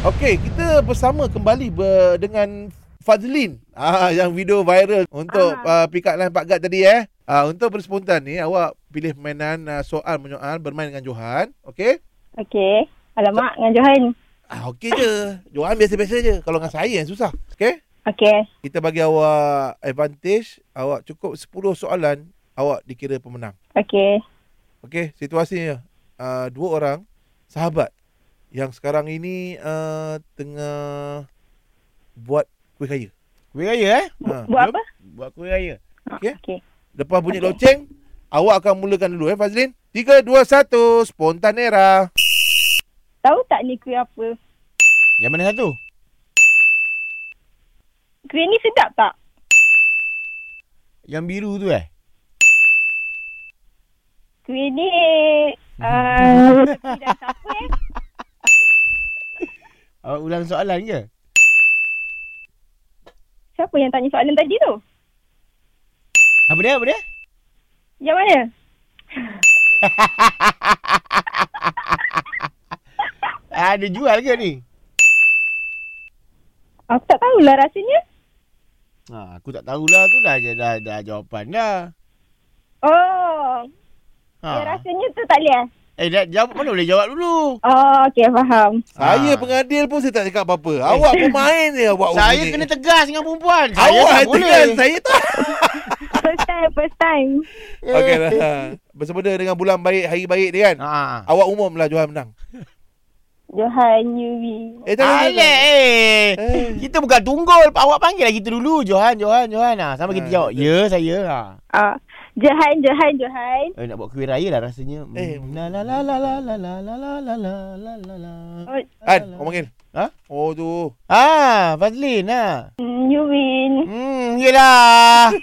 Okey, kita bersama kembali ber, dengan Fazlin. Ah yang video viral untuk ah. uh, pick up line Pak Gad tadi eh. Ah untuk berspontan ni awak pilih permainan uh, soal menyoal bermain dengan Johan, okey? Okey. Alamak, dengan Johan. Ah okey je. Johan biasa-biasa je. Kalau dengan saya yang susah. Okey? Okey. Kita bagi awak advantage, awak cukup 10 soalan, awak dikira pemenang. Okey. Okey, situasinya uh, dua orang sahabat yang sekarang ini uh, tengah buat kuih kaya. Kuih raya eh? Ha. Buat apa? Ha, Buat kuih raya. Okey. Okey. Lepas bunyi Okey. loceng, awak akan mulakan dulu eh Fazlin. 3 2 1 spontan era. Tahu tak ni kuih apa? Yang mana satu? Kuih ni sedap tak? Yang biru tu eh? Kuih ni... Hmm. Uh, kuih dah siapa eh? Awak ulang soalan ke? Siapa yang tanya soalan tadi tu? Apa dia? Apa dia? Yang mana? Ah, dia jual ke ni? Aku tak tahulah rasanya. Ha, aku tak tahulah tu dah, dah, dah, dah jawapan dah. Oh, Ha. yang rasanya tu tak boleh eh? Eh, dah, jawab mana boleh jawab dulu? Oh, okey faham. Saya Ah. pengadil pun saya tak cakap apa-apa. Awak pemain je awak. saya bunyi. kena tegas dengan perempuan. Saya awak tak Eh. yang tegas, saya tak. First time, first time. Okey dah. Bersempena dengan bulan baik, hari baik dia kan. Ha. Awak umumlah Johan menang. Johan Yuri. Eh Alah, eh. Eh. Kita bukan tunggul. Awak panggil lah kita dulu. Johan, Johan, Johan. Ha, sama kita Ah, jawab. betul. Ya, saya. Ha. Ah, Johan, Johan, Johan. Eh, nak buat kuih raya lah rasanya. Eh. Hmm. La la la la la la la la la la la la la. Oh, An, kau panggil. Ha? Oh tu. Ah, Fazlin ha. mm, you Hmm, win. Hmm, yelah.